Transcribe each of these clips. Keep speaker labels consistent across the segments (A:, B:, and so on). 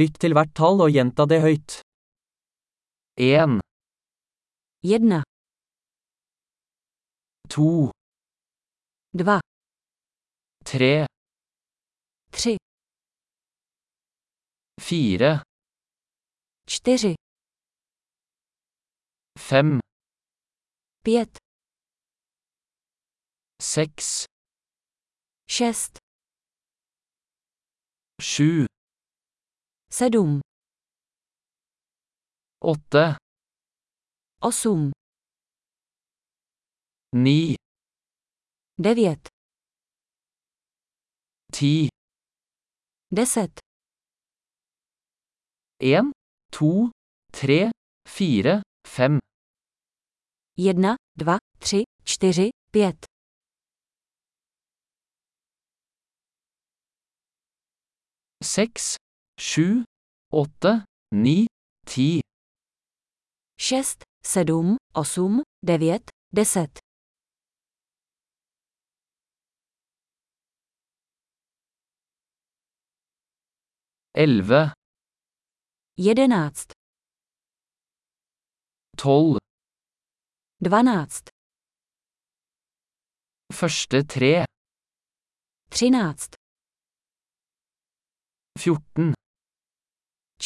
A: Lytt til hvert tall og gjenta det høyt. 1,
B: Jedna,
A: 2,
B: dva,
A: 3,
B: tři,
A: 4,
B: čtyři,
A: 5,
B: pět,
A: 6,
B: šest,
A: 7,
B: sedm,
A: 8,
B: osm,
A: 9,
B: devět,
A: 10,
B: deset,
A: 1, 2, 3, 4, 5,
B: jedna, dva, tři, čtyři, pět,
A: 6, 7, 8, 9, 10,
B: šest, sedm, osm, devět, deset,
A: 11,
B: jedenáct,
A: 12,
B: dvanáct,
A: første tre,
B: třináct,
A: 14,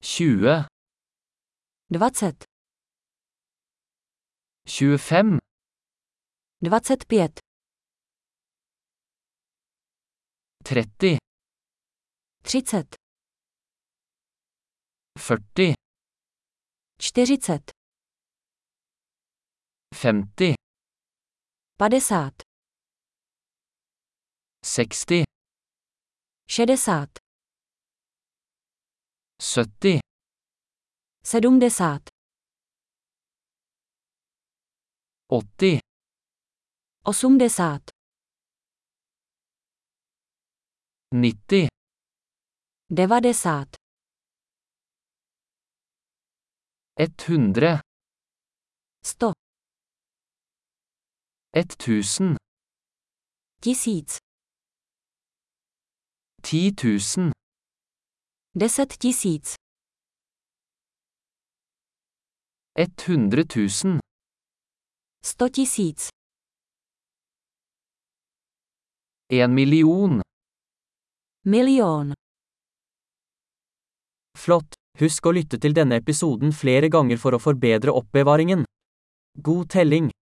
A: 20,
B: dvacet,
A: 25,
B: dvacet pět,
A: 30,
B: třicet,
A: 40,
B: čtyřicet,
A: 50,
B: padesát,
A: 60,
B: šedesát,
A: 70,
B: sedmdesát,
A: 80,
B: osmdesát,
A: 90,
B: devadesát.
A: 100,
B: 100,
A: 1000,
B: tisíc,
A: 10 000,
B: deset tisíc,
A: 100 000,
B: sto tisíc,
A: 1 million.
B: milion.
A: Flott! Husk å lytte til denne episoden flere ganger for å forbedre oppbevaringen. God telling!